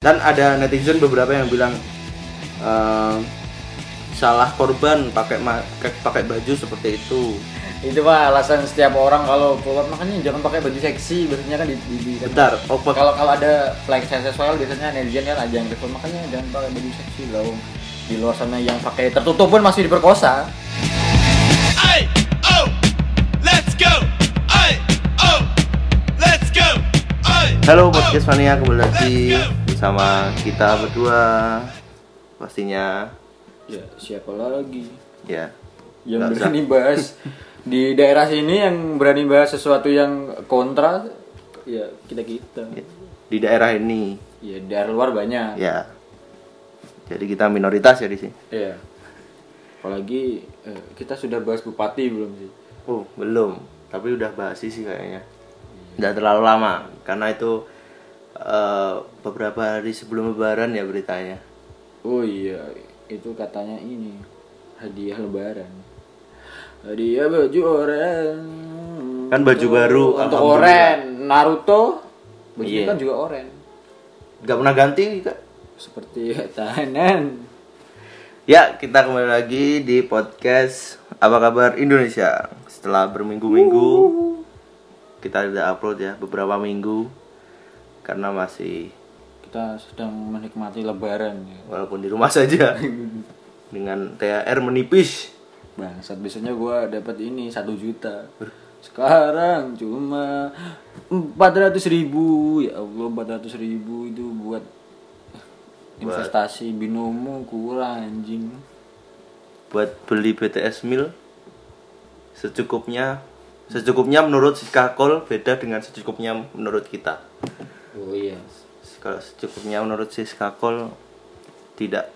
dan ada netizen beberapa yang bilang ehm, salah korban pakai ma- ke- pakai baju seperti itu itu pak alasan setiap orang kalau keluar makanya jangan pakai baju seksi biasanya kan di, di, di- bentar oh, pak- kalau kalau ada flag seksual biasanya netizen kan aja yang telepon makanya jangan pakai baju seksi lah Om. di luar sana yang pakai tertutup pun masih diperkosa Hey, oh, let's go. Hey, oh, let's go. Hey, halo podcast mania kembali lagi bersama kita berdua pastinya ya siapa lagi ya yang Nggak usah. berani bahas di daerah sini yang berani bahas sesuatu yang kontra ya kita kita di daerah ini ya daerah luar banyak ya jadi kita minoritas ya di sini ya apalagi eh, kita sudah bahas bupati belum sih oh belum tapi udah bahas sih kayaknya tidak terlalu lama karena itu eh, beberapa hari sebelum lebaran ya beritanya Oh iya, itu katanya ini hadiah lebaran. Hadiah baju oren. Kan baju baru, Untuk alhamdulillah. oren Naruto baju Iya. kan juga oren. nggak pernah ganti Kak. Seperti tahanan. ya kita kembali lagi di podcast apa kabar Indonesia setelah berminggu-minggu kita tidak upload ya beberapa minggu karena masih Kita sedang menikmati lebaran ya. walaupun di rumah saja dengan THR menipis Bangsat biasanya gua dapat ini satu juta. Sekarang cuma 400.000 ribu ya Allah 400.000 ribu itu buat investasi binomo kurang anjing. buat beli BTS meal secukupnya secukupnya menurut si Kakol beda dengan secukupnya menurut kita Oh iya. kalau secukupnya menurut si Kakol tidak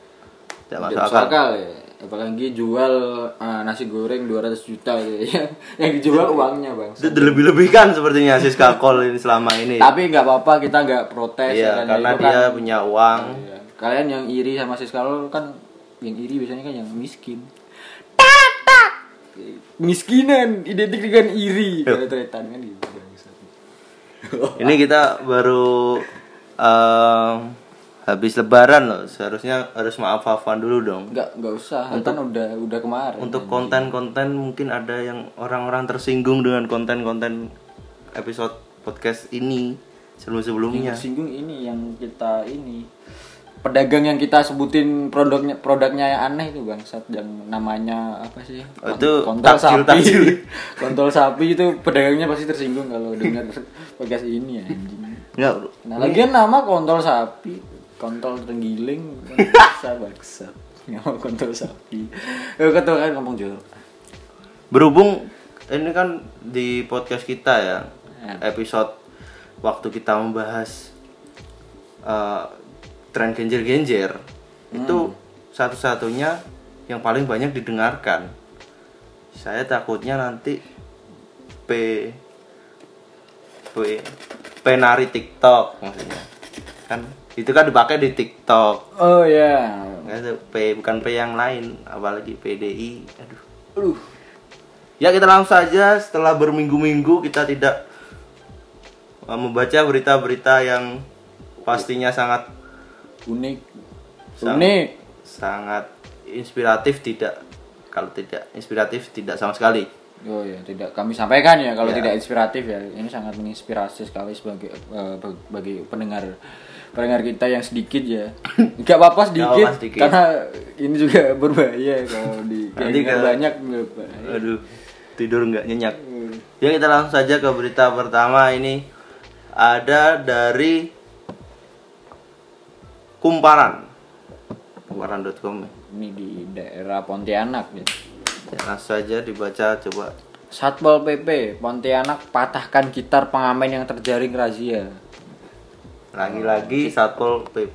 tidak masuk Tidak masuk akal akal ya. Apalagi jual eh, nasi goreng 200 juta gitu ya. Yang dijual uangnya, Bang. itu dilebih-lebihkan sepertinya Siska Kol ini selama ini Tapi nggak apa-apa, kita nggak protes ya iya kan. karena Itu dia kan- punya uang Iya. Kalian yang iri sama Siska lo kan yang iri biasanya kan yang miskin. Miskinan identik dengan iri. Kalau teretan kan gitu. ini kita baru em, habis lebaran loh seharusnya harus maaf maafan dulu dong Enggak, enggak usah. Kan udah udah kemarin. untuk konten-konten mungkin ada yang orang-orang tersinggung dengan konten-konten episode podcast ini sebelum-sebelumnya singgung ini yang kita ini pedagang yang kita sebutin produknya produknya yang aneh itu bangsat yang namanya apa sih Oh, itu takjil, kontol sapi takjil. kontol sapi itu pedagangnya pasti tersinggung kalau dengar podcast ini anjing nggak nah lagian nama kontol sapi kontol terenggiling bangsa bangsat nama kontol sapi eh ketua kan ngomong jorok berhubung ini kan di podcast kita ya episode waktu kita membahas eh, tren genjer-genjer itu satu-satunya yang paling banyak didengarkan saya takutnya nanti p p penari TikTok maksudnya kan itu kan dipakai di TikTok oh ya Nggak tahu, p bukan p yang lain apalagi PDI aduh Aduh. Ya kita langsung saja setelah berminggu-minggu kita tidak eh, membaca berita-berita yang pastinya sangat unik Sama. unik sangat inspiratif tidak kalau tidak inspiratif tidak sama sekali. Oh ya, tidak kami sampaikan ya kalau Ya. tidak inspiratif ya. Ini sangat menginspirasi sekali sebagai eh, bag- bagi pendengar pendengar kita yang sedikit ya. Enggak apa-apa sedikit, apa-apa sedikit. karena ini juga berbahaya kalau di Nanti yang kalau- banyak berbahaya. Aduh, tidur nggak nyenyak. Ya kita langsung saja ke berita pertama ini ada dari kumparan kumparan.com Ini di daerah Pontianak ya. ya, langsung saja dibaca coba Satpol PP Pontianak patahkan gitar pengamen yang terjaring razia. lagi-lagi satpol pp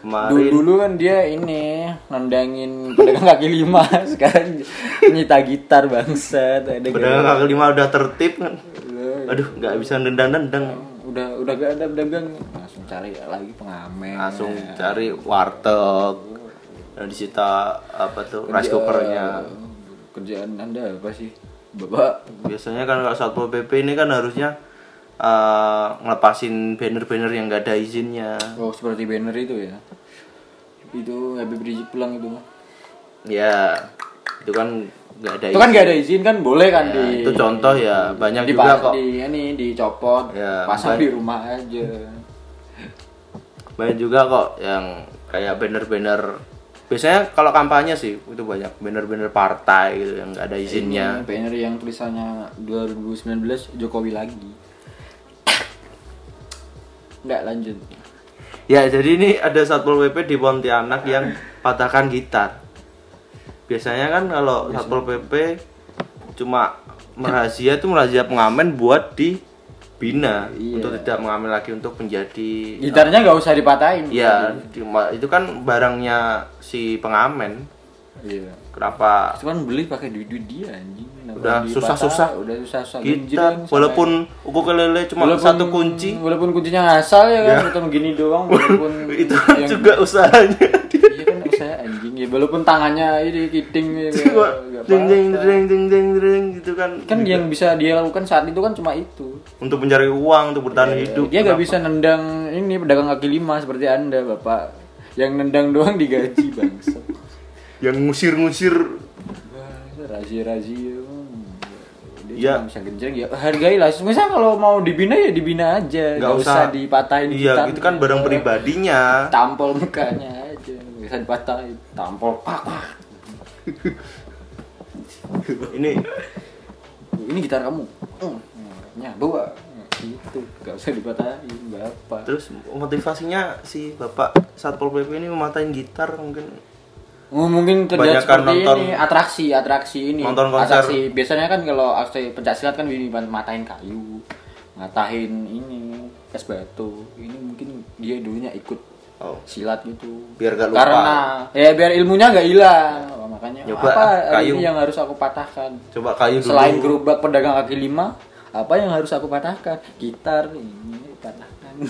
Dulu, kemarin dulu kan dia ini nendangin pedagang kaki lima, sekarang nyita gitar bangsa. pedagang Iya. kaki lima udah tertib kan aduh nggak bisa nendang nendang udah udah gak ada pedagang langsung cari lagi pengamen langsung Iya. cari warteg dan disita apa tuh rice cookernya eh, kerjaan anda apa sih bapak biasanya kan kalau satpol pp ini kan harusnya eh, ngelepasin banner-banner yang nggak ada izinnya Oh seperti banner itu ya. Itu Habib Rizik pulang itu. ya itu kan nggak ada Itu kan gak ada izin kan boleh kan di. itu contoh ya banyak di, juga kok Di ini dicopot, Ya, pasang banyak. di rumah aja. banyak juga kok yang kayak banner-banner biasanya kalau kampanye sih itu banyak banner-banner partai gitu yang nggak ada izinnya Ini banner yang tulisannya 2019 Jokowi lagi. Nggak lanjut. ya jadi ini ada satpol pp di Pontianak yang patahkan gitar biasanya kan kalau satpol pp cuma merazia itu merazia pengamen buat dibina untuk tidak mengamen lagi untuk menjadi Gitarnya nggak usah dipatahin. ya cuma- itu kan barangnya si pengamen Iya. kenapa Itu kan beli pakai duit duit dia anjing. Kenapa Udah dipatah- susah-susah. Udah susah susah. gitar walaupun ukulele cuma satu kunci Walaupun kuncinya ngasal ya kan, atau begini doang. Walaupun itu kan yang- juga usahanya Iya kan saya anjing ya walaupun tangannya ini kiting ya, cuma nggak ding ding patah. ding ding ding ding gitu kan kan yang bisa dia lakukan saat itu kan cuma itu untuk mencari uang untuk bertahan hidup Iya, dia nggak bisa nendang ini pedagang kaki lima seperti anda bapak yang nendang doang digaji bangsa yang ngusir-ngusir razia razia Hmm. dia Ya. cuma bisa genjreng ya hargailah misalnya kalau mau dibina ya dibina aja nggak usah, dipatahin iya gitarnya. itu kan barang pribadinya tampol mukanya aja nggak usah dipatahin tampol pak pak. ini ini gitar kamu Hmm. ya bawa itu gitu. nggak usah dipatahin bapak terus motivasinya si bapak satpol pp ini mematahin gitar mungkin Oh, mungkin Kebanyakan terlihat seperti nonton- ini atraksi atraksi ini nonton konser. atraksi biasanya kan kalau aksi pencaksilat kan ini matain kayu ngatahin ini es batu ini mungkin dia dulunya ikut oh silat gitu Biar nggak lupa. karena ya biar ilmunya nggak hilang Wah, makanya Coba apa hari ah, kayu. ini yang harus aku patahkan coba kayu dulu selain gerobak pedagang kaki lima apa yang harus aku patahkan gitar ini patahkan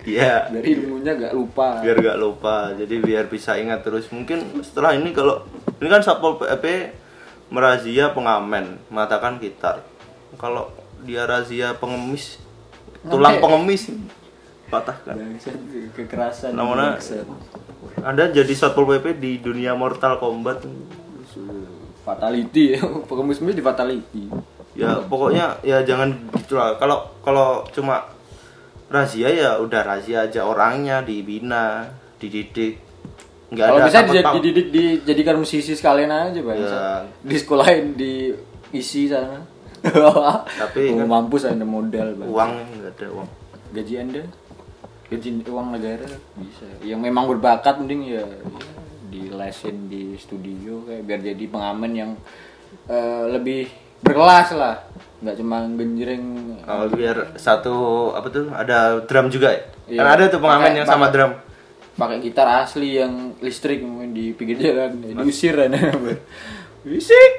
iya biar ilmunya nggak lupa biar gak lupa jadi biar bisa ingat terus mungkin setelah ini kalau ini kan satpol pp merazia pengamen mengatakan gitar kalau dia razia pengemis tulang Oke. pengemis patahkan Bangsat, kekerasan Namanya- bangsat. anda jadi satpol pp di dunia mortal kombat fatality ya pengemis-pengemis di fatality ya pokoknya ya jangan gitu lah kalau kalau cuma razia ya udah razia aja orangnya dibina dididik nggak kalau ada bisa takut dijad- paut. dididik dijadikan musisi sekalian aja bang Ya. di sekolahin di isi sana Tapi kan- Oh, mampus anda modal bang uang nggak ada uang gaji anda gaji uang negara bisa yang memang berbakat mending ya, ya di lesin di studio kayak biar jadi pengamen yang eh, lebih berkelas lah nggak cuma genjreng Oh, biar satu apa tuh ada drum juga ya? Iya. Kan ada tuh pengamen Pakai- yang sama pakai- drum. pakai gitar asli yang listrik mungkin di pinggir jalan diusir kan bisik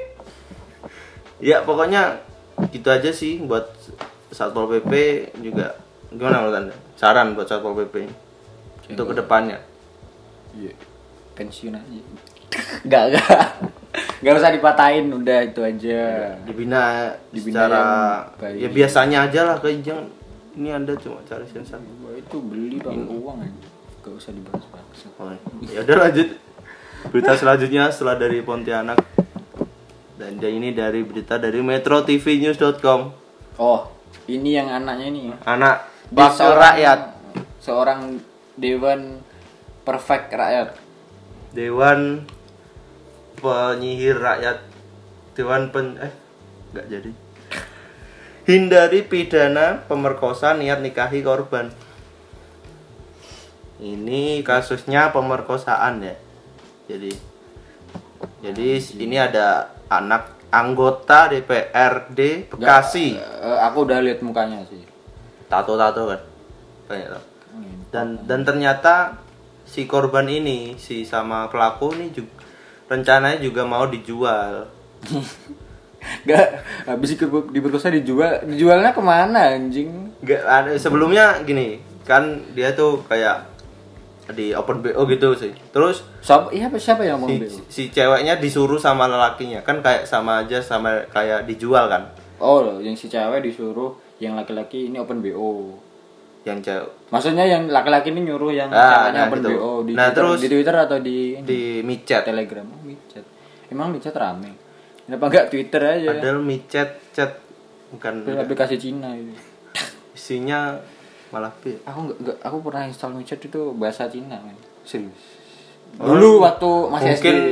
Ya pokoknya gitu aja sih buat satpol pp juga gimana menurut anda? Saran buat satpol pp untuk kedepannya? iya pensiun aja nggak nggak nggak usah dipatahin udah itu aja Iya. Dibina, Dibina secara yang baik. ya biasanya aja lah kayak jangan ini anda cuma cari sensasi. Wah, itu beli pakai uang aja nggak usah dibahas bahas Oh, ya udah lanjut berita selanjutnya setelah dari Pontianak dan ini dari berita dari metrotvnews.com oh ini yang anaknya ini ya anak Di wakil seorang- rakyat seorang dewan perfect rakyat Dewan Penyihir Rakyat Dewan pen eh nggak jadi hindari pidana pemerkosa niat nikahi korban ini kasusnya pemerkosaan ya jadi jadi ini ada anak anggota DPRD Bekasi Eh, aku udah lihat mukanya sih tato-tato kan banyak tato. dan dan ternyata si korban ini si sama pelaku ini juga rencananya juga mau dijual Gak, habis diker- diperkosa dijual, dijualnya kemana anjing? Nggak, ada- sebelumnya gini kan dia tuh kayak di open bo gitu sih terus Siapa, iya apa- siapa yang ngomong si, Beo? si ceweknya disuruh sama lelakinya kan kayak sama aja sama kayak dijual kan Oh, yang si cewek disuruh yang laki-laki ini open BO yang cewek maksudnya yang laki-laki ini nyuruh yang Ah, ceweknya nah, open gitu. BO di, Nah, Twitter, terus- di Twitter atau di, di micet Telegram oh, micet emang micet rame kenapa nggak Twitter aja padahal micet chat bukan Itu aplikasi Cina itu isinya malah pi aku nggak nggak- aku pernah install micet itu bahasa Cina men serius dulu waktu masih Oh. mungkin SD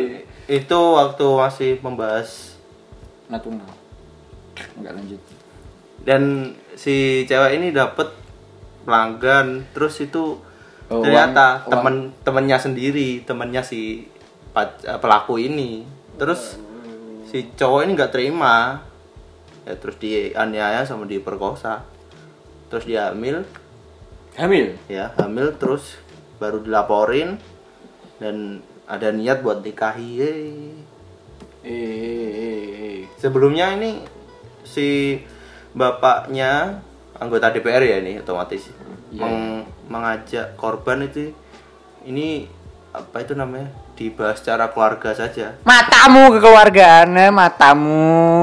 itu waktu masih membahas Natuna nggak lanjut dan si cewek ini dapet pelanggan terus itu Oh, ternyata uang- temen temennya sendiri temennya si pac- eh, pelaku ini terus si cowok ini nggak terima ya terus dianiaya sama diperkosa terus dia hamil hamil ya hamil terus baru dilaporin dan ada niat buat nikahi yeay. eh eh, eh, eh. sebelumnya ini si bapaknya anggota DPR ya ini otomatis meng- mengajak korban itu ini apa itu namanya dibahas secara keluarga saja Matamu kekeluargaannya, matamu.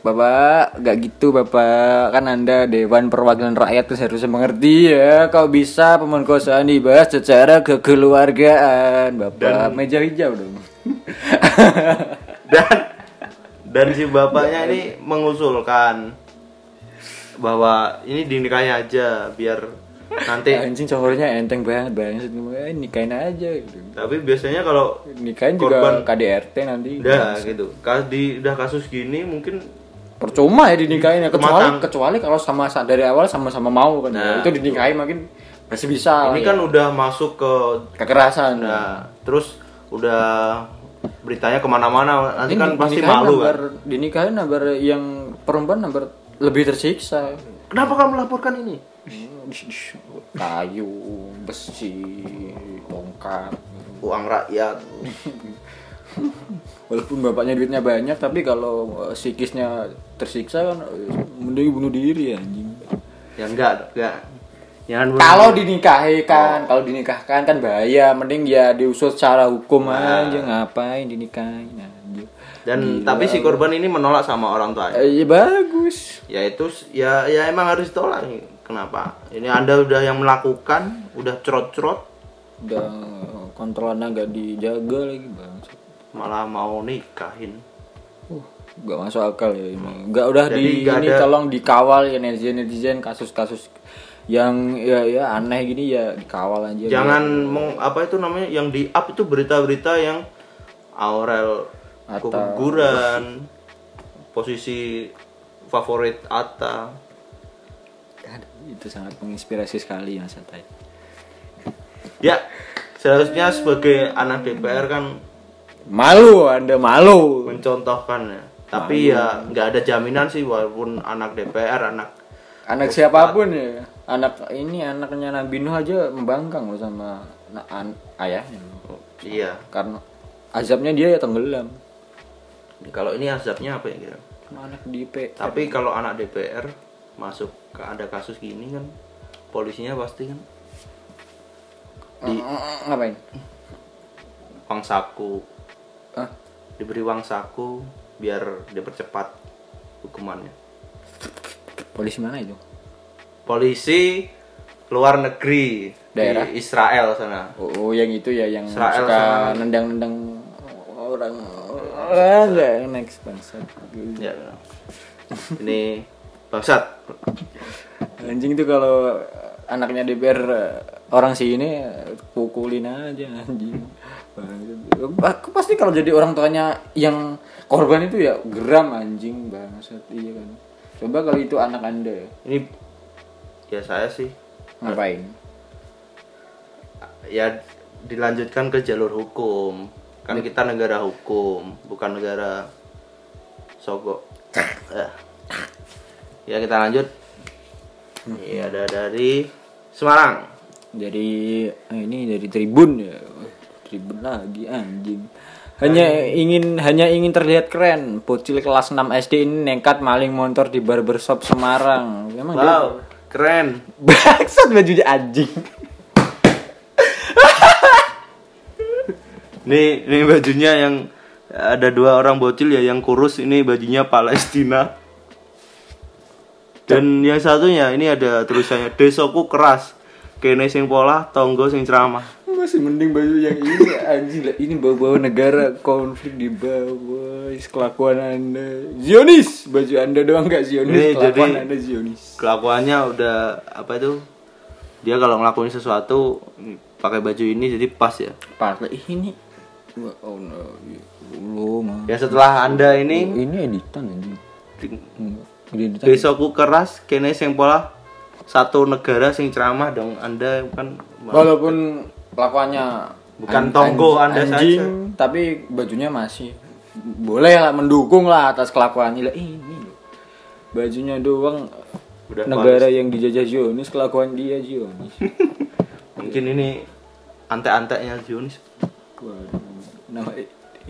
Bapak, gak gitu bapak. Kan anda Dewan Perwakilan Rakyat terus harusnya mengerti ya. Kalau bisa pemerkosaan dibahas secara kekeluargaan. Bapak, meja hijau dong. dan dan si bapaknya ini mengusulkan bahwa ini dinikahi aja biar nanti Anjing cowoknya enteng banget banget. Eh, Nikahin aja gitu. tapi biasanya kalau Nikahin juga Korban. KDRT nanti. udah gitu Kas- di udah kasus gini mungkin Percuma ya dinikahin ya. Kecuali, Matang. kecuali kalau sama dari awal sama-sama mau kan- kan. ya. Nah. Itu dinikahin makin masih bisa. ini lah kan ya. udah masuk ke kekerasan. Nah, terus udah beritanya kemana-mana, nanti Ini kan di- pasti dinikahin malu kan. Nambar, dinikahin nambar yang perempuan nambar lebih tersiksa. Kenapa kamu melaporkan ini? Kayu, besi, tongkat. Uang rakyat. Walaupun bapaknya duitnya banyak, tapi kalau eh, psikisnya tersiksa kan eh, mending bunuh diri anjing. Ya enggak, enggak. Jangan bunuh Kalau diri. dinikahi kan, kalau dinikahkan kan bahaya, mending ya diusut secara hukum Nah. aja ngapain dinikahin anjing. dan tapi si korban ini menolak sama orang tuanya. Eh, ya bagus. Yaitu ya ya emang harus ditolak nih. Kenapa? Ini Anda udah yang melakukan, udah cerot-cerot, Udah kontrolannya nggak dijaga lagi bang. malah mau nikahin. Uh, gak masuk akal ya ini. Gak udah Jadi di nggak ini ada- tolong dikawal ya netizen netizen kasus-kasus yang ya ya aneh gini ya dikawal aja. Jangan meng- apa itu namanya yang di-up itu berita-berita yang Aurel Atta. keguguran, posisi favorit Atta. Aduh, itu sangat menginspirasi sekali mas Atai. Ya, seharusnya sebagai anak DPR kan Malu anda malu. mencontohkan ya. Tapi ya nggak ada jaminan sih walaupun anak DPR anak Anak siapapun ya. Anak ini anaknya Nabi Nuh aja membangkang loh sama na- an- ayahnya loh. iya. Karena azabnya dia ya tenggelam. Kalau ini azabnya apa ya kira? Sama Anak di P. Tapi kalau anak DPR masuk ke ada kasus gini kan polisinya pasti kan di Eh, ngapain? uang saku Hah? diberi uang saku biar dipercepat hukumannya Polisi mana itu? polisi luar negeri Daerah? di Israel sana Oh, oh, yang itu ya yang Israel suka sama- nendang-nendang orang orang nggak Oh, next bangsa. ya ini bangsat Anjing tuh kalau eh, anaknya DPR eh, orang sini eh, pukulin aja anjing. Bangsat. Aku pasti kalau jadi orang tuanya yang korban itu ya geram anjing bangsat iya kan. Coba kalau itu anak Anda ini ya saya sih ngapain? ya dilanjutkan ke jalur hukum kan kita negara hukum bukan negara sogok Eh. ya kita lanjut ini ada dari Semarang dari eh, ini dari tribun ya Wah, tribun lagi anjing hanya ingin hanya ingin terlihat keren bocil kelas 6 SD ini nekat maling motor di barbershop Semarang memang dia wow keren bangsat bajunya anjing Nih, ini bajunya yang ada dua orang bocil ya yang kurus ini bajunya Palestina. Dan yang satunya ini ada tulisannya desoku keras. Kene sing pola, tonggo sing ceramah. Masih mending baju yang ini anjing lah ini bawa-bawa negara konflik di bawah is kelakuan anda Zionis baju anda doang gak Zionis Ini kelakuan jadi- anda Zionis Kelakuannya udah apa itu? Dia kalau ngelakuin sesuatu pakai baju ini jadi pas ya. partai ini Wah, oh no lo mah Ya setelah Anda ini ini editan anjing Ini editan desoku keras, kene sing pola satu negara sing ceramah dong Anda kan walaupun kelakuannya Bukan tonggo Anda anjing, saja. tapi bajunya masih boleh lah mendukung lah atas kelakuannya lah ini loh. bajunya doang Udah negara yang dijajah Zionis kelakuan dia Zionis mungkin ini antek-anteknya Zionis. Waduh, nama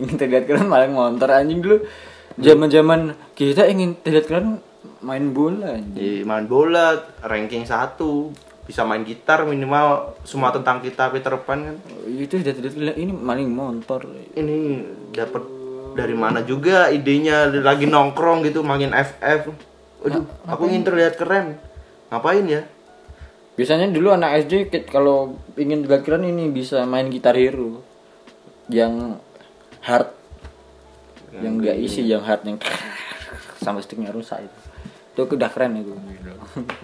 ingin terlihat keren malah ngontor anjing dulu. Zaman-zaman kita ingin terlihat keren main bola anjing. Di main bola ranking satu bisa main gitar minimal semua tentang kita Peter Pan kan Itu sudah terlihat keren ini maling montor. ini dapat dari mana juga idenya lagi nongkrong gitu main FF aduh aku ingin terlihat keren ngapain ya Biasanya dulu anak SD ke- kalau ingin terlihat keren ini bisa main gitar hero yang hard yang gak isi yang hard yang sampai sticknya rusak itu itu udah keren itu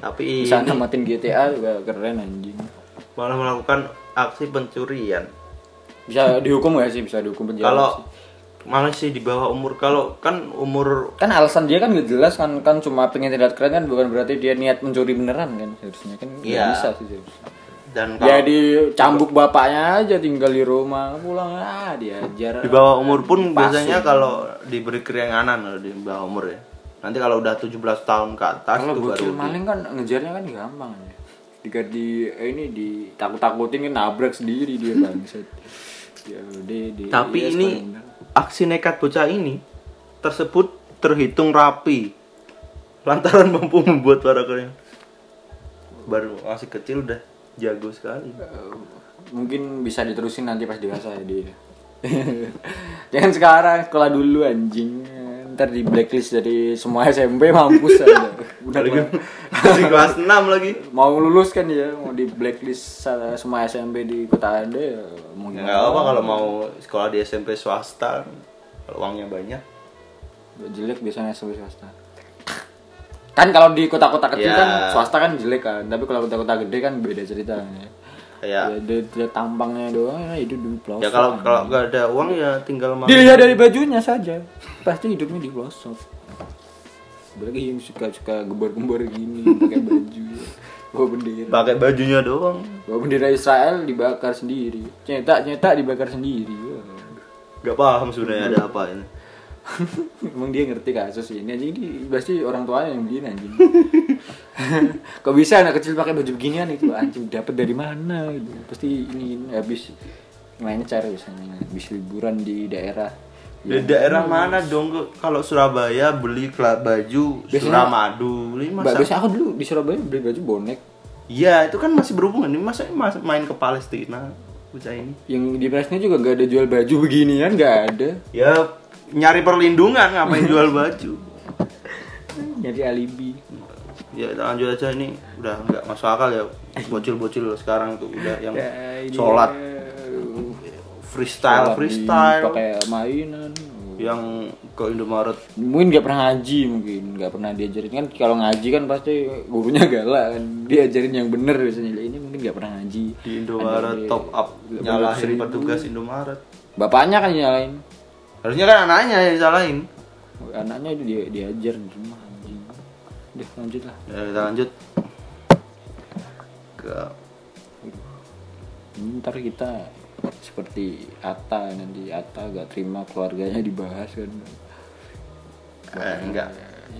tapi bisa namatin GTA juga keren anjing malah melakukan aksi pencurian bisa dihukum gak sih bisa dihukum penjara Iya, sih. kalau masih di bawah umur kalau kan umur kan alasan dia kan gak jelas kan kan cuma pengen terlihat keren kan bukan berarti dia niat mencuri beneran kan harusnya kan nggak Iya. bisa sih seharusnya. dan ya kalau dicambuk bapaknya aja tinggal di rumah pulang ah diajar di bawah umur pun Pasu. biasanya kalau diberi keringanan loh di bawah umur ya nanti kalau udah 17 tahun ke atas kalau itu baru bocil maling kan ngejarnya kan gampang ya Diga- di eh, ini ditakut-takutin kan nabrak sendiri dia bangset ya udah di Tapi iya, ini sekarang bener. aksi nekat bocah ini tersebut terhitung rapi lantaran mampu membuat para karyawan baru masih kecil udah jago sekali. Eh, mungkin bisa diterusin nanti pas dewasa ya dia jangan sekarang sekolah dulu anjing ntar di blacklist dari semua SMP mampus aja udah Lagi mau- masih kelas 6 lagi. mau lulus kan ya mau di blacklist sa- semua SMP di kota anda ya mau Ya gimana nggak apa kalau mau sekolah di SMP swasta kalau uangnya banyak. jelek biasanya SMP swasta kan kalau di kota-kota kecil Ya. kan swasta kan jelek kan tapi kalau kota-kota gede kan beda cerita ya. Ya. Ya, dia- dia tampangnya doang ya hidup di pelosok Ya kalau kan. kalau nggak ada uang ya tinggal makan. Dilihat dari bajunya saja, pasti hidupnya di pelosok. Apalagi yang suka-suka gembar-gembar gini pakai baju, bawa bendera. Pakai bajunya doang. Bawa bendera Israel dibakar sendiri, cetak-cetak dibakar sendiri. Wah. Gak paham sebenarnya ada apa ini. Emang dia ngerti kasus ini anjing ini pasti orang tuanya yang begini anjing. Kok bisa anak kecil pakai baju beginian itu anjing dapat dari mana itu? Pasti ini habis lancar biasanya habis liburan di daerah. Hmm. Di Iya. daerah mana dong Kok? kalau Surabaya beli kela- baju Biasanya- Suramadu ini masa Bagusnya aku dulu di Surabaya beli baju bonek Iya, itu kan masih berhubungan. Ini masa mas- main ke Palestina bocah ini? yang di Brasnya juga nggak ada jual baju beginian nggak ada Ya nyari perlindungan ngapain jual baju? nyari alibi Ya lanjut aja ini udah nggak masuk akal ya bocil-bocil sekarang tuh udah yang Ya, ini- sholat freestyle Sholat freestyle pakai mainan yang ke Indomaret mungkin nggak pernah ngaji mungkin nggak pernah diajarin kan kalau ngaji kan pasti gurunya galak kan diajarin yang bener biasanya ini mungkin nggak pernah ngaji di Indomaret Ada- top up ada- nyalahin seribu. petugas Indomaret bapaknya kan yang nyalain harusnya kan anaknya yang disalahin anaknya itu dia diajar di rumah anjing udah lanjut lah ya, kita lanjut ke ntar kita seperti Ata nanti Ata gak terima keluarganya dibahas kan eh, enggak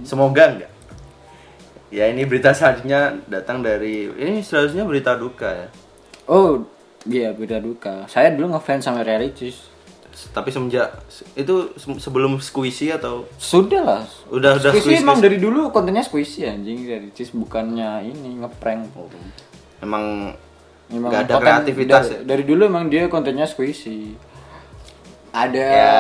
semoga enggak ya ini berita selanjutnya datang dari ini seharusnya berita duka ya oh iya beda duka saya dulu ngefans sama realitis tapi semenjak itu se- sebelum squishy atau sudah lah Udah- udah squishy squeeze, emang squeeze. dari dulu kontennya squishy anjing realitis bukannya ini ngeprank emang Emang nggak ada konten- kreativitas ya? dari, dari dulu emang dia kontennya squishy ada Ya.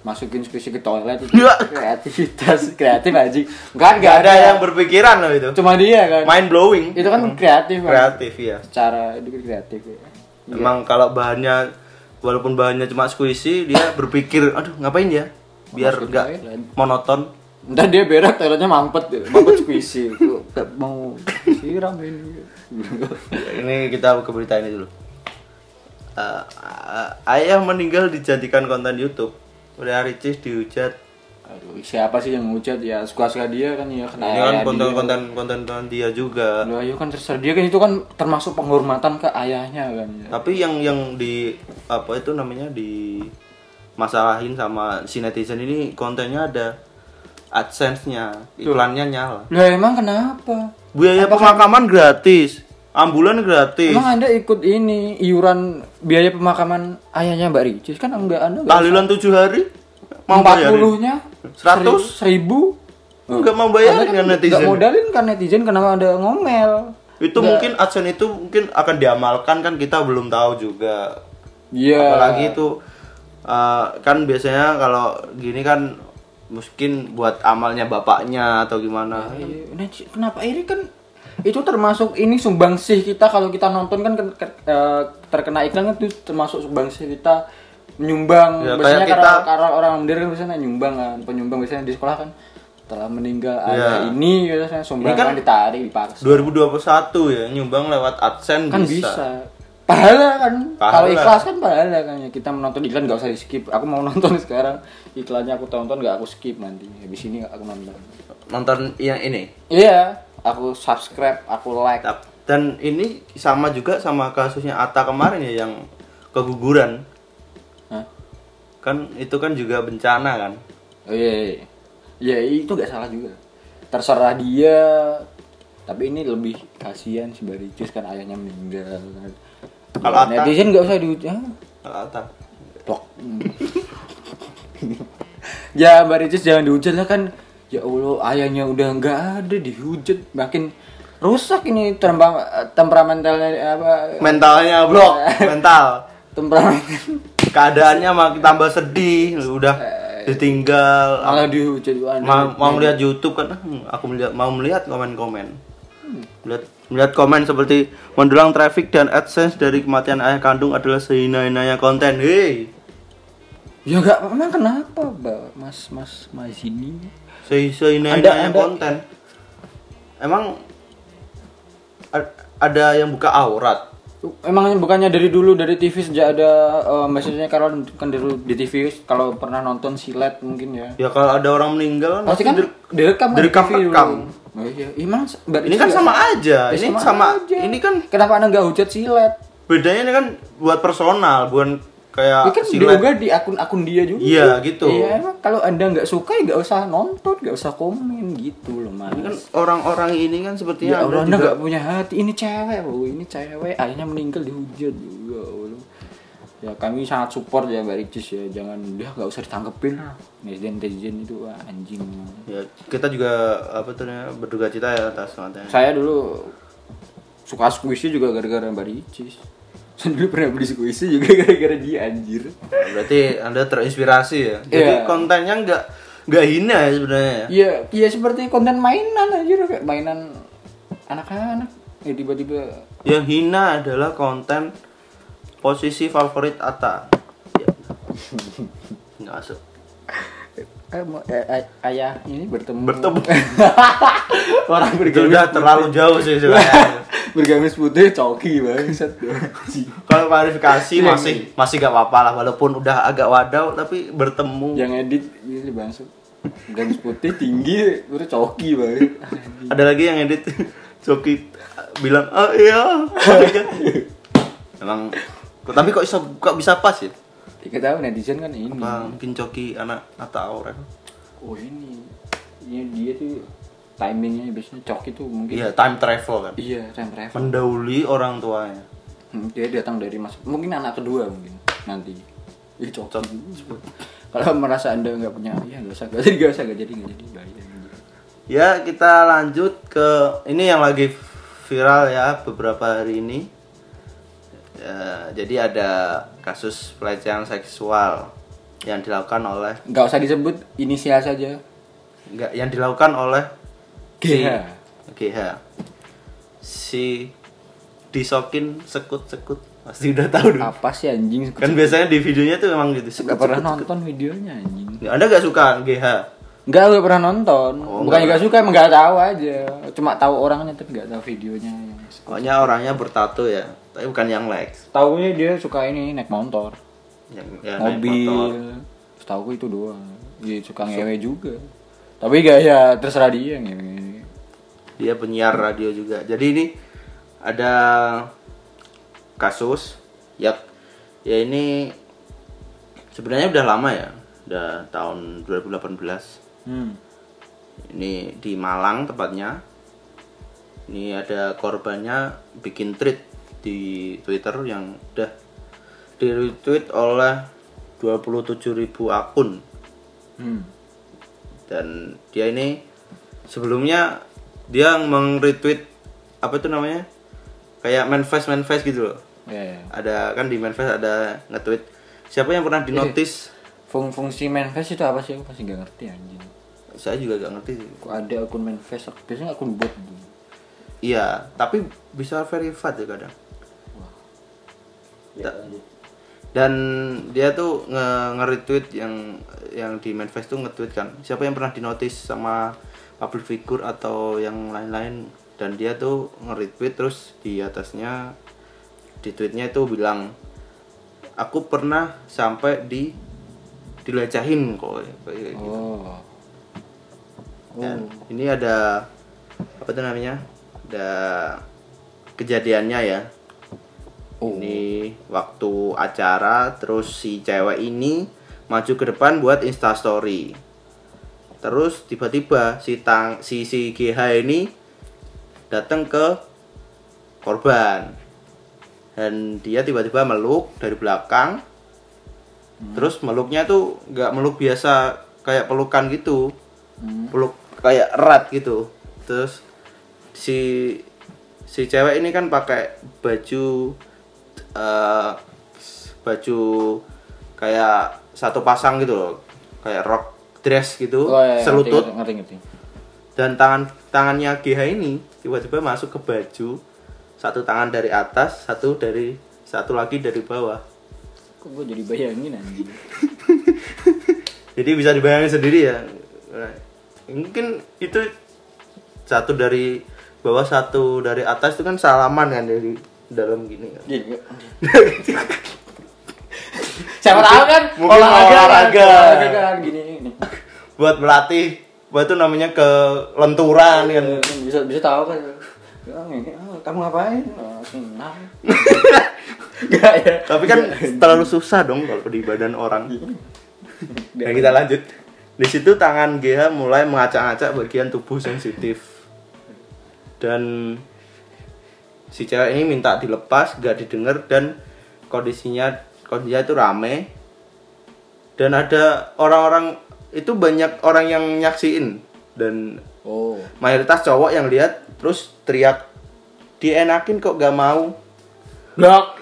masukin squishy ke toilet itu Iya. kreativitas kreatif aja kan Gak gak ada yang berpikiran loh itu. cuma dia kan Mind blowing. itu kan kreatif kan. kreatif ya. secara itu kan kreatif ya. Emang kalau bahannya walaupun bahannya cuma squishy, dia berpikir, aduh ngapain ya? Biar Masukin nggak toilet. monoton. Ntar dia berak toiletnya mampet, ya. mampet squishy. Gua Gak mau siram ini. ya. Ini kita ke berita ini dulu. Eh, ayah meninggal dijadikan konten YouTube. Udah Ricis dihujat. Aduh, siapa sih yang ngujat ya suka-suka dia kan ya kena Ini ayah kan dia. konten-konten konten dia juga. Loh, ayo kan terserah dia kan itu kan termasuk penghormatan ke ayahnya kan. ya. Tapi yang yang di apa itu namanya di masalahin sama si netizen ini kontennya ada AdSense-nya, iklannya nyala. Loh emang kenapa? Biaya pemakaman gratis, ambulan gratis. Emang Anda ikut ini iuran biaya pemakaman ayahnya Mbak Ricis kan enggak Anda enggak Tahlilan 7 hari mau empat bayarin. puluhnya Seratus? seribu Enggak mau bayarin kan netizen. nggak modalin kan netizen kenapa ada ngomel Itu mungkin AdSense itu mungkin akan diamalkan kan kita belum tahu juga. iya Apalagi itu eh, kan biasanya kalau gini kan mungkin buat amalnya bapaknya atau gimana. Iya, nah, Ci, kenapa ini kan itu termasuk ini sumbangsih kita kalau kita nonton kan ken- ken- eh, terkena iklan kan itu termasuk sumbangsih kita menyumbang Ya, biasanya kayak karena, kita- karena orang mandiri kan biasanya nyumbang kan penyumbang biasanya di sekolah kan telah meninggal ada Iya. ini biasanya sumbangan kan- ditarik dipaksa 2021 ya nyumbang lewat AdSense kan bisa, bisa. pahala kan Pahala. kalau ikhlas kan pahala kan ya kita menonton iklan nggak usah di skip aku mau nonton sekarang iklannya aku tonton nggak aku skip nanti habis ini aku nonton Nonton yang ini. iya aku subscribe aku like Tap. Dan ini sama juga sama kasusnya Ata kemarin ya yang keguguran. Hah? Kan itu kan juga bencana kan. Oh iya, iya. Ya itu gak salah juga. Terserah dia. Tapi ini lebih kasihan si Baricis kan ayahnya meninggal. kan. Kalau Ya, Atta- netizen gak usah dihujat. Kalau Ata. Tok. ya Baricis jangan dihujat lah kan. Ya Allah ayahnya udah nggak ada dihujat makin rusak ini tempa- temperamentalnya apa Mentalnya blok, Iya. mental. temperamental Keadaannya makin tambah sedih, udah ditinggal. Eh, malah dihujat Waduh. Mau, mau melihat YouTube kan "Hmm, aku melihat mau melihat komen-komen. Hmm. Melihat, melihat komen seperti mendulang traffic dan AdSense dari kematian ayah kandung adalah sehina-hinanya konten. Hei, Ya nggak emang kenapa, Mbak? Mas Mas Mas ini. Se- Anda- Seindah-indahnya Anda- konten. Emang a- ada yang buka aurat? Emangnya bukannya dari dulu dari TV sejak ada eh, message-nya kalau kan dulu di TV kalau pernah nonton silet mungkin ya. Ya kalau ada orang meninggal Pasti kan dir- direkam kan direkam- TV dulu. rekam. Oh iya, emang Mbak ini kan Rizky sama nggak- aja. Ya, ini sama, ini kan kenapa Anda nggak hujat silet? bedanya ini kan buat personal, bukan Ini kayak kan silet. diunggah di akun-akun dia juga. Ah, Iya, gitu. Iya, emang kalau Anda nggak suka ya nggak usah nonton, nggak usah komen gitu loh, Mas. Ini kan orang-orang ini kan sepertinya Ya, ada Allah, anda juga- nggak punya hati. Ini cewek, Bu. Ini cewek akhirnya meninggal dihujat juga, Allah. Ya kami sangat support ya Mbak Ricis ya. Jangan udah nggak usah ditanggepin lah. Hmm. Netizen netizen itu wah, anjing. Ya, kita juga apa tuh namanya, berduka cita ya atas kematian. Saya dulu suka squishy juga gara-gara Mbak Ricis. Saya dulu pernah beli squishy juga gara-gara dia anjir. Berarti Anda terinspirasi ya. Jadi Iya. kontennya nggak nggak hina ya sebenarnya. ya. Iya, iya seperti konten mainan anjir kayak mainan anak-anak. Ya tiba-tiba Yang hina adalah konten posisi favorit Ata. Ya. Nggak masuk. eh, mau- eh, ay- ayah ini bertemu Bertemu. orang Itu bergamis udah terlalu jauh sih sebenarnya. bergamis putih coki banget Kalau klarifikasi Iya, masih masih gak apa-apa lah walaupun udah agak wadau tapi bertemu yang edit ini bangsat gamis putih tinggi udah coki banget ada lagi yang edit Joki bilang oh iya Adegan. emang kok- tapi kok bisa kok bisa pas ya kita tahu netizen kan ini Nah, mungkin Joki anak Ata Aurel oh ini ini dia tuh timingnya biasanya coki tuh mungkin iya time travel kan iya time travel mendahului orang tuanya Hmm, dia datang dari mas mungkin anak kedua mungkin nanti Ih, coki kalau merasa anda nggak punya ya nggak usah nggak jadi nggak usah nggak jadi nggak jadi nggak jadi. Ya, kita lanjut ke ini yang lagi viral ya beberapa hari ini. Ya, jadi ada kasus pelecehan seksual yang dilakukan oleh nggak usah disebut inisial saja enggak yang dilakukan oleh GH GH si disokin sekut-sekut pasti udah tahu dong. apa sih anjing kan biasanya di videonya tuh emang gitu sekut, nggak pernah sekut, sekut. nonton videonya anjing Ya, anda gak suka GH nggak gue pernah nonton Oh, bukan nggak. nggak suka emang nggak tahu aja cuma tahu orangnya tapi nggak tahu videonya yang pokoknya orangnya bertato ya tapi bukan yang Lex tahunya dia suka ini naik motor yang, yang Ya, naik motor. mobil tahu itu doang dia suka ngewe juga tapi gak ya terserah dia ngewe dia penyiar radio juga jadi ini ada kasus ya ya ini sebenarnya udah lama ya udah tahun 2018 hmm. ini di Malang tepatnya ini ada korbannya bikin tweet di Twitter yang udah di retweet oleh 27.000 akun Hmm. dan dia ini sebelumnya dia meng-retweet apa itu namanya kayak manifest manifest gitu loh Ya, ya. ada kan di manifest ada nge-tweet siapa yang pernah dinotis Fung fungsi manifest itu apa sih aku masih gak ngerti anjing saya juga gak ngerti sih. Kok ada akun manifest Aku- biasanya akun bot gitu. iya tapi bisa verified ya kadang Da- dan dia tuh nge nge-retweet yang yang di manifest tuh nge-tweet kan siapa yang pernah dinotis sama public figure atau yang lain-lain dan dia tuh nge-retweet terus di atasnya di tweetnya itu bilang aku pernah sampai di dilecehin kok Kayak gitu. oh Dan Oh. ini ada apa tuh namanya? Ada kejadiannya ya. Ini waktu acara terus si cewek ini maju ke depan buat Insta story. Terus tiba-tiba si tang si si GH ini datang ke korban. Dan dia tiba-tiba meluk dari belakang. Hmm. Terus meluknya tuh nggak meluk biasa kayak pelukan gitu Hmm. peluk kayak erat gitu terus si si cewek ini kan pakai baju eh, baju kayak satu pasang gitu loh kayak rok dress gitu Oh, ya, ya, ngerti, selutut ngerti, ngerti, ngerti. dan tangan tangannya GH ini tiba-tiba masuk ke baju satu tangan dari atas satu dari satu lagi dari bawah kok gue jadi bayangin anjing Jadi bisa dibayangin sendiri ya. Nah, Mungkin itu satu dari bawah satu dari atas itu kan salaman kan dari dalam gini kan. Iya, iya. siapa tahu kan Mungkin kan, olahraga. olahraga kan gini nih Buat melatih, buat itu namanya kelenturan kan. bisa bisa tahu kan Ya, ini, ah, kamu ngapain Ah, senam Gak ya Tapi kan terlalu susah dong kalau di badan orang. Dan kita lanjut. Di situ tangan GH mulai mengacak-acak bagian tubuh sensitif. Dan si cewek ini minta dilepas, gak didengar dan kondisinya kondisinya itu rame. Dan ada orang-orang itu banyak orang yang nyaksiin dan oh mayoritas cowok yang lihat terus teriak dienakin kok gak mau blok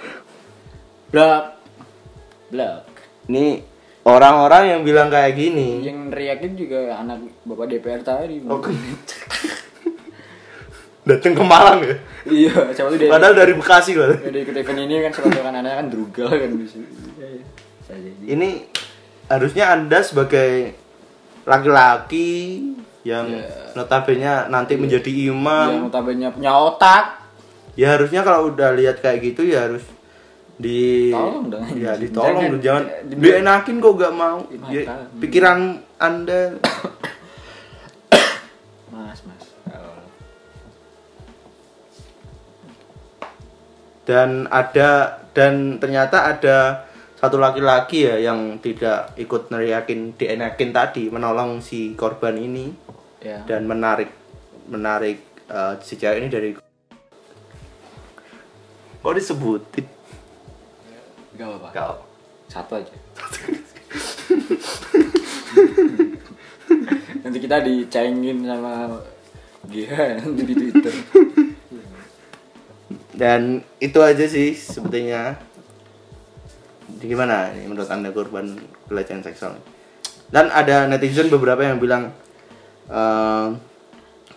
blok blok Ini orang-orang yang bilang kayak gini. yang riakin juga anak bapak DPR tadi Oh, Datang ke Malang ya. iya siapa tuh dia Padahal dari Bekasi loh. udah ikut event ini kan surat kan anaknya kan drugal kan di situ Iya, Ini harusnya Anda sebagai laki-laki yang Iya. notabene nanti menjadi yang imam, notabene punya otak ya harusnya kalau udah lihat kayak gitu ya harus di Tolong dong. ya ditolong Jangan- dong jangan di- dienakin kok gak mau Ya, Makan. pikiran anda mas mas dan ada dan ternyata ada satu laki-laki ya yang tidak ikut neriakin dienakin tadi menolong si korban ini ya dan menarik menarik eh, si cewek ini dari kok disebutin gak apa-apa kau satu aja nanti kita dicengin sama dia nanti di Twitter dan itu aja sih sebetulnya Jadi Gimana ini menurut anda korban pelecehan seksual? Dan ada netizen beberapa yang bilang ehm,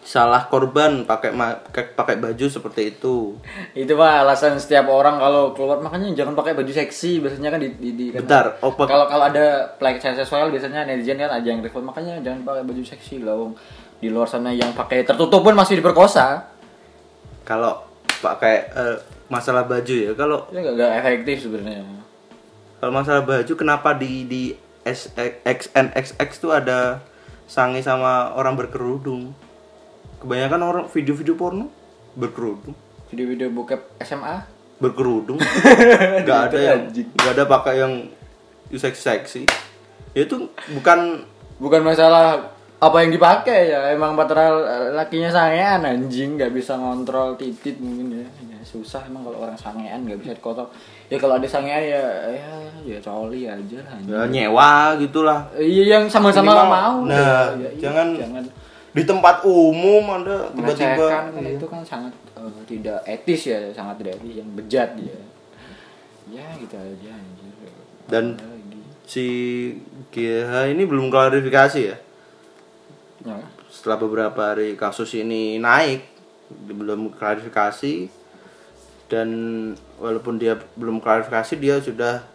salah korban pakai ma- pakai pakai baju seperti itu. itu mah alasan setiap orang kalau keluar makanya jangan pakai baju seksi biasanya kan di, di, di- kan- Bentar, oh, pak- kalau kalau ada pelecehan seksual biasanya netizen kan aja yang report makanya jangan pakai baju seksi lah wong. di luar sana yang pakai tertutup pun masih diperkosa Kalau pakai eh, masalah baju ya, kalau itu nggak nggak efektif sebenarnya Kalau masalah baju kenapa di di XNXX tuh ada sange sama orang berkerudung? Kebanyakan orang video-video porno berkerudung, video-video bokep SMA berkerudung. Gitu gak ada ya. yang gak ada pakai yang seksi seksi. Ya Itu bukan bukan masalah apa yang dipakai ya emang material eh, lakinya sangean anjing nggak bisa ngontrol titit mungkin ya, Ya, susah emang kalau orang sangean nggak bisa dikotok ya kalau ada sangean ya ya ya coli aja lah anjing. ya, nyewa gitulah. Iya yang sama-sama Minimal- mau. Nah, Ya, iya, jangan, jangan di tempat umum anda tiba-tiba melecehkan kan itu kan sangat eh, tidak etis ya, sangat tidak etis yang bejat ya. Ya gitu aja anjir. Dan- Apa lagi? si GH ini belum klarifikasi ya. Ya. setelah beberapa hari kasus ini naik belum klarifikasi dan walaupun dia belum klarifikasi dia sudah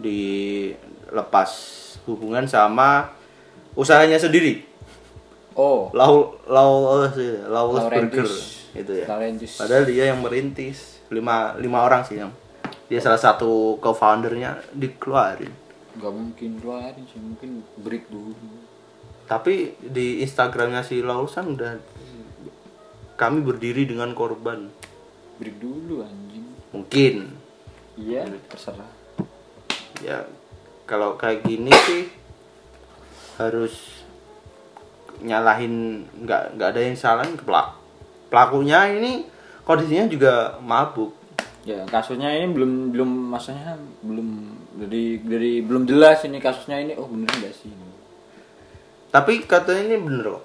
dilepas hubungan sama usahanya sendiri Oh, lau lau Lau- burger Laurentis. gitu ya Laurentis. padahal dia yang merintis lima lima orang sih yang dia salah satu co-foundernya dikeluarin nggak mungkin keluarin sih, mungkin break dulu. tapi di Instagramnya si Laulusan udah kami berdiri dengan korban Break dulu anjing. mungkin Iya, terserah. ya kalau kayak gini sih harus nyalahin nggak nggak ada yang salah ke pelak- pelakunya ini kondisinya juga mabuk Ya, kasusnya ini belum belum maksudnya belum dari dari belum jelas ini kasusnya ini oh bener nggak sih ini? tapi katanya ini bener kok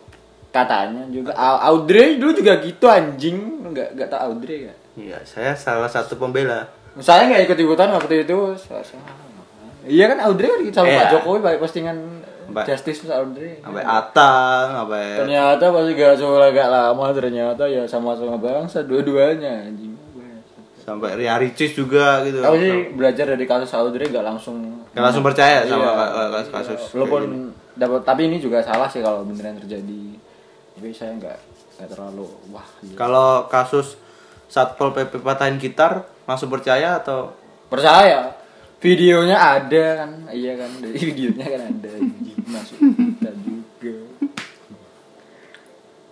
katanya juga Au- Audrey dulu juga gitu anjing nggak nggak tak Audrey ya ya saya salah satu pembela saya nggak ikut ikutan waktu itu Saya- saya- iya kan Audrey kan sama Pak Iya. Jokowi pakai postingan Mbak- Justice Audrey Iya. sampai Atang sampai ternyata pas gak sekolah gak lama ternyata ya sama-sama bangsa dua-duanya anjing sampai Ria Ricis juga gitu aku sih belajar dari kasus Audrey gak langsung Nggak langsung percaya sama Iya, ka- ka- gitu. kasus-kasus iya. walaupun dapat tapi ini juga salah sih kalau beneran terjadi tapi saya nggak nggak terlalu wah iya. gila. Kalau kasus Satpol PP patahin gitar, langsung percaya atau percaya videonya ada kan iya kan dari videonya kan ada anjing masuk kita juga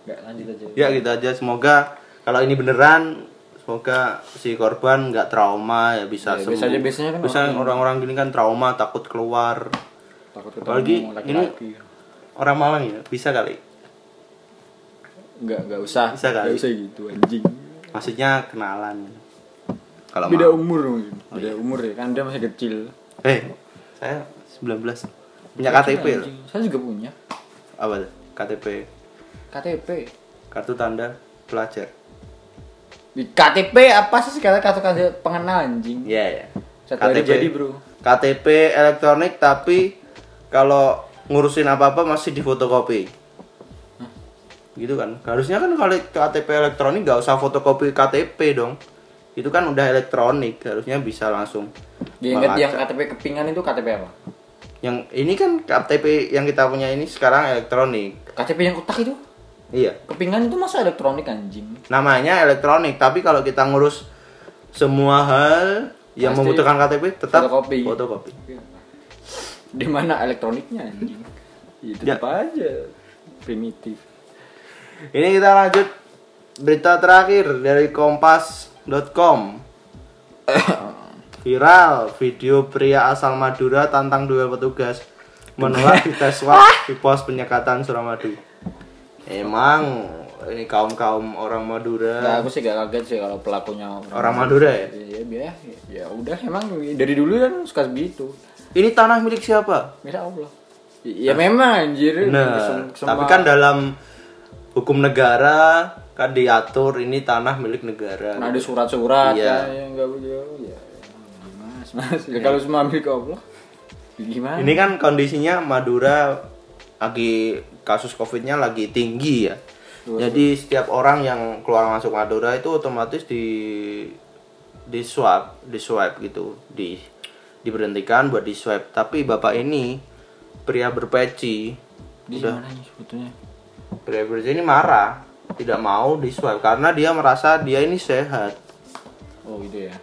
nggak lanjut aja ya gitu aja. Semoga kalau ini beneran, semoga si korban nggak trauma ya bisa Ya, sembuh. biasanya- biasanya kan Biasanya orang-orang gini kan trauma takut keluar. takut Apalagi ketemu laki-laki Orang Malang ya bisa kali. nggak nggak usah Bisa kan? kali. nggak usah gitu anjing Maksudnya kenalan. Kalau beda mau. umur mungkin Oh, iya. beda umur ya kan dia masih kecil Eh, saya 19 punya KTP loh. Anjing. saya juga punya Apa tuh? KTP KTP kartu tanda pelajar. di KTP apa sih sekarang kartu kartu pengenal anjing Iya ya. Satu hari jadi, bro. KTP elektronik tapi kalau ngurusin apa-apa masih difotokopi. Gitu kan. Harusnya kan kalau KTP elektronik gak usah fotokopi KTP dong. Itu kan udah elektronik, harusnya bisa langsung. diingat yang melacak. KTP kepingan itu KTP apa yang ini kan KTP yang kita punya ini sekarang elektronik. KTP yang kotak itu Iya. kepingan itu masa elektronik anjing Namanya elektronik, tapi kalau kita ngurus semua hal yang Pasti membutuhkan KTP tetap fotokopi. fotokopi. di mana elektroniknya anjing itu Ya. apa aja primitif Ini kita lanjut berita terakhir dari kompas.com. Viral video pria asal Madura tantang duel petugas menolak dites swab di pos penyekatan Suramadu. Emang ini kaum-kaum orang nah, Madura. aku sih gak kaget sih kalau pelakunya orang Eh. Orang Madura ya? ya biar ya udah emang dari dulu kan suka begitu Ini tanah milik siapa? mira allah ya memang anjir Nah, Sem- semua- tapi kan dalam hukum negara kan diatur ini tanah milik negara. kan ada surat-surat Iya. ya, yang gak boleh ya. Mas, mas. Ya, kalau semua milik Allah. ya Gimana? Ini kan kondisinya Madura lagi kasus COVID-nya lagi tinggi ya. Jadi setiap orang yang keluar masuk Madura itu otomatis di di swab, di swab gitu, di diberhentikan buat di swab. Tapi bapak ini pria berpeci, di udah mana nih sebetulnya? pria berpeci ini marah, tidak mau di swab karena dia merasa dia ini sehat. Oh, gitu ya.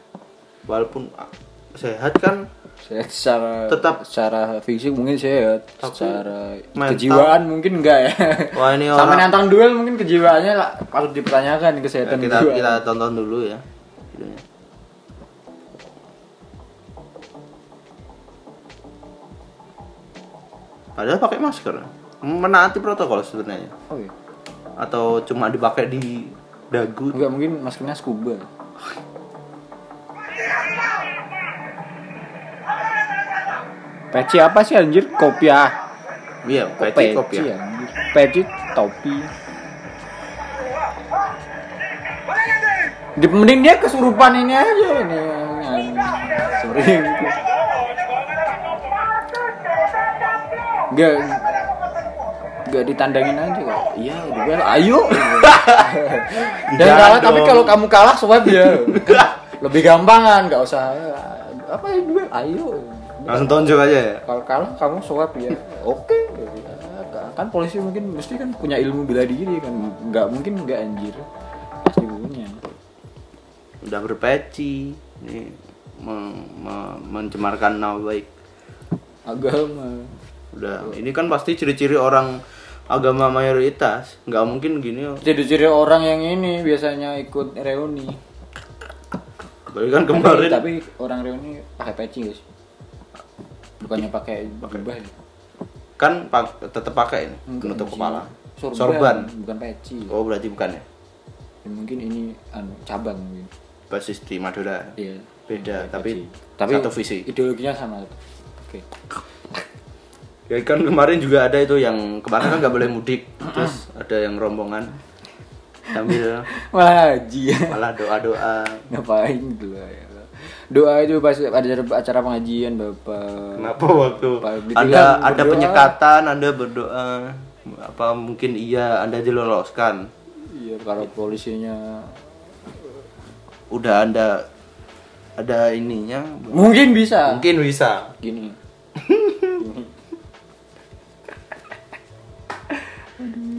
Walaupun ah, sehat kan Sehat secara Tetap. secara fisik mungkin sehat, Tapi secara mental. kejiwaan mungkin enggak ya. Wah, ini Sama orang- nantang duel mungkin kejiwaannya lah patut dipertanyakan kesehatan kita jiwa. kita tonton dulu ya videonya. Padahal pakai masker, menaati protokol sebenarnya, Oh, iya. atau cuma dipakai di dagu. Enggak mungkin maskernya scuba. Peci apa sih anjir? Kopiah. Iya, Kok peci kopi. peci ya. anjir? Peci topi. Di mending dia kesurupan ini aja ini. Sering. Enggak Gak ditandangin aja kok. Iya, udah bel, ayo. Dan Jangan kalah, tapi Iya, dong. kalau kamu kalah swab ya. Lebih gampangan, nggak usah apa ya duel, ayo. Langsung tonjok aja ya. Kalau kalah kamu swab ya. Oke. Ya, Kan polisi mungkin mesti kan punya ilmu bela diri kan. Nggak mungkin nggak anjir. Pasti punya. Udah berpeci, nih mem- mem- mencemarkan nama baik. Agama. Udah, ini kan pasti ciri-ciri orang agama mayoritas, nggak mungkin gini. oh. Ciri-ciri orang yang ini biasanya ikut reuni. Balik kan Tapi, kemarin. tapi orang reuni pakai peci guys. Bukannya pakai jubah ya. kan pak, tetap pakai ini Enggak, penutup bukan kepala sorban. sih. Hmm. sorban, bukan peci oh berarti bukan ya Ya, mungkin ini anu, cabang mungkin basis di Madura Iya. beda Pakai tapi, peci. tapi satu visi ideologinya sama oke ya kan kemarin juga ada itu yang kemarin kan nggak boleh mudik Hmm. terus ada yang rombongan sambil malah haji ya malah doa doa ngapain doa ya doa itu pas ada acara pengajian bapak kenapa waktu Pak, ditilang ada ada berdoa. penyekatan anda berdoa apa mungkin iya anda diloloskan iya kalau polisinya udah anda ada ininya mungkin bisa mungkin bisa gini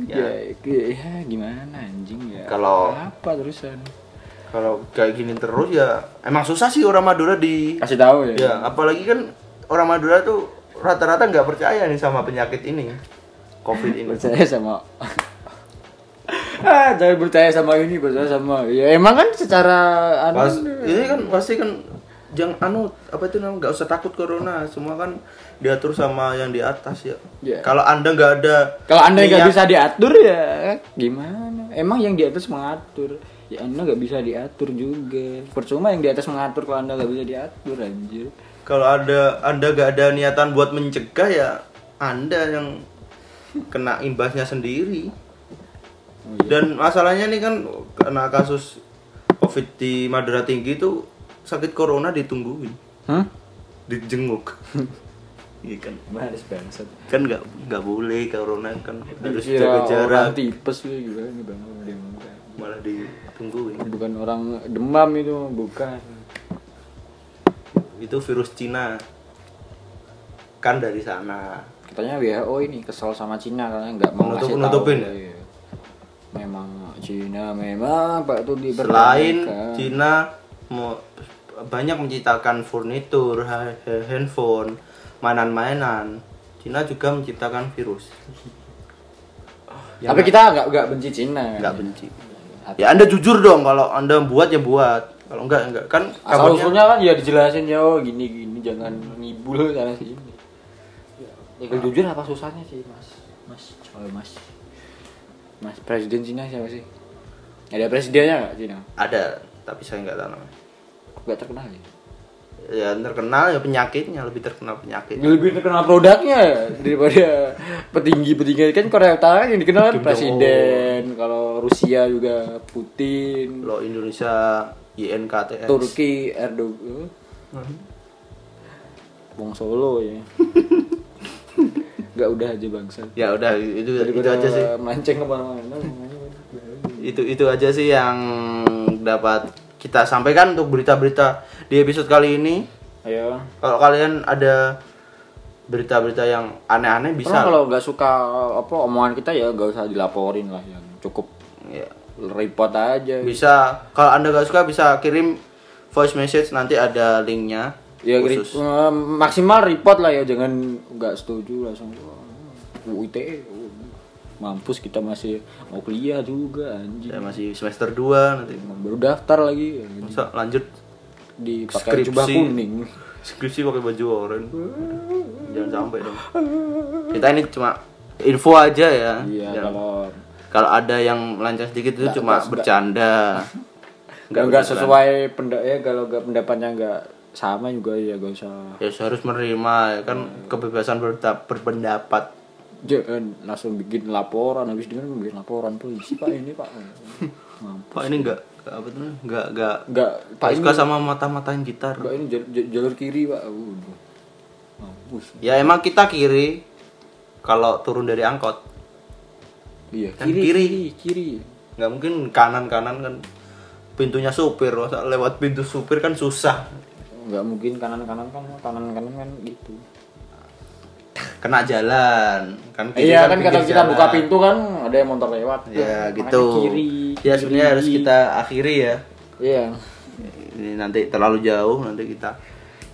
ya, ya gimana anjing ya Kalau- apa terusan kalau kayak gini terus ya emang susah sih orang Madura di kasih tahu ya ya apalagi kan orang Madura tuh rata-rata nggak percaya nih sama penyakit ini covid ini percaya sama ah jangan percaya sama ini percaya sama ya emang kan secara anu Pas, ini kan pasti kan jangan anu apa itu namanya nggak usah takut corona semua kan diatur sama yang di atas ya Iya. kalau anda nggak ada kalau anda nggak niat- bisa diatur ya gimana emang yang di atas mengatur ya anda nggak bisa diatur juga percuma yang di atas mengatur kalau anda nggak bisa diatur anjir kalau ada anda nggak ada niatan buat mencegah ya anda yang kena imbasnya sendiri Oh, iya. dan masalahnya nih kan karena kasus covid di Madura tinggi itu sakit corona ditungguin Hah? dijenguk iya kan Baris bangsat. kan nggak nggak boleh corona kan harus jaga jarak Kira Iya, orang tipes lu juga ini bang dia bukan. malah ditungguin bukan orang demam itu bukan. itu virus Cina kan dari sana Katanya WHO ini kesel sama Cina karena nggak mau Menutup- ngasih menutupin ya? tahu. Iya. Memang Cina memang Pak selain itu dipertahankan. Cina mau banyak menciptakan furnitur ha- ha- handphone mainan-mainan Cina juga menciptakan virus Tapi kita nggak nggak benci Cina. nggak benci Iya. ya anda jujur dong kalau anda buat ya buat kalau enggak enggak kan Asal kabarnya usulnya kan ya dijelasin ya oh, gini gini jangan ngibul sana sini. Ya kalau jujur apa susahnya sih mas? Mas, coba mas. Mas presiden Cina siapa sih? Ada presidennya nggak Cina? ada tapi saya nggak tahu namanya. Nggak terkenal ya. ya terkenal ya penyakitnya lebih terkenal penyakit Lebih terkenal produknya ya, daripada petinggi-petinggi kan Korea Utara kan yang dikenal kan Kim Jong-un. presiden, kalau Rusia juga Putin, lo Indonesia YNKTS Turki Erdogan, Wong Solo ya. Gak udah aja bangsa. ya udah itu itu Daripada aja sih Melenceng kemana-mana. makanya. itu itu aja sih yang dapat kita sampaikan untuk berita-berita di episode kali ini Ayo. kalau kalian ada berita-berita yang aneh-aneh Bisa. bisa kalau nggak suka apa omongan kita ya nggak usah dilaporin lah yang cukup Ya. report aja. bisa kalau anda gak suka bisa kirim voice message nanti ada linknya Ya khusus. re- eh, maksimal report lah ya jangan nggak setuju langsung UITE mampus kita masih mau kuliah juga Ya, anjing. masih semester 2 nanti Baru daftar lagi anjing. bisa lanjut dipakai Skripsi. jubah kuning. skripsi pakai baju oranye jangan sampai dong kita ini cuma info aja ya Iya Jangan- kalau kalau ada yang lancar sedikit itu cuma bercanda nggak nggak sesuai pendapat ya kalau nggak pendapatnya nggak sama juga ya gak usah ya harus menerima ya kan kebebasan berta- berpendapat jangan eh, langsung bikin laporan habis dengan bikin laporan polisi pak ini pak Mampu. pak ini enggak apa tuh enggak enggak nggak pak pak ini suka sama mata-matain gitar nggak ini jal- jal- jalur kiri pak Waduh. mampus ya emang kita kiri kalau turun dari angkot iya Kan kiri kiri. kiri kiri nggak mungkin kanan kanan kan pintunya supir masa lewat pintu supir kan susah nggak mungkin kanan kanan kan kanan kanan kan gitu kena jalan kan kiri iya kan pinggir kalau kita jalan. buka pintu kan ada yang motor lewat ya Makanya gitu kiri ya sebenarnya harus kita akhiri ya iya ini nanti terlalu jauh nanti kita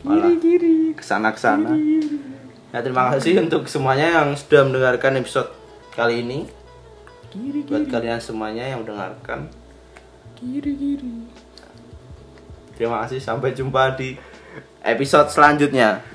malah kiri kesana kesana ya terima kasih untuk semuanya yang sudah mendengarkan episode kali ini kiri buat kalian semuanya yang mendengarkan kiri kiri terima kasih sampai jumpa di episode selanjutnya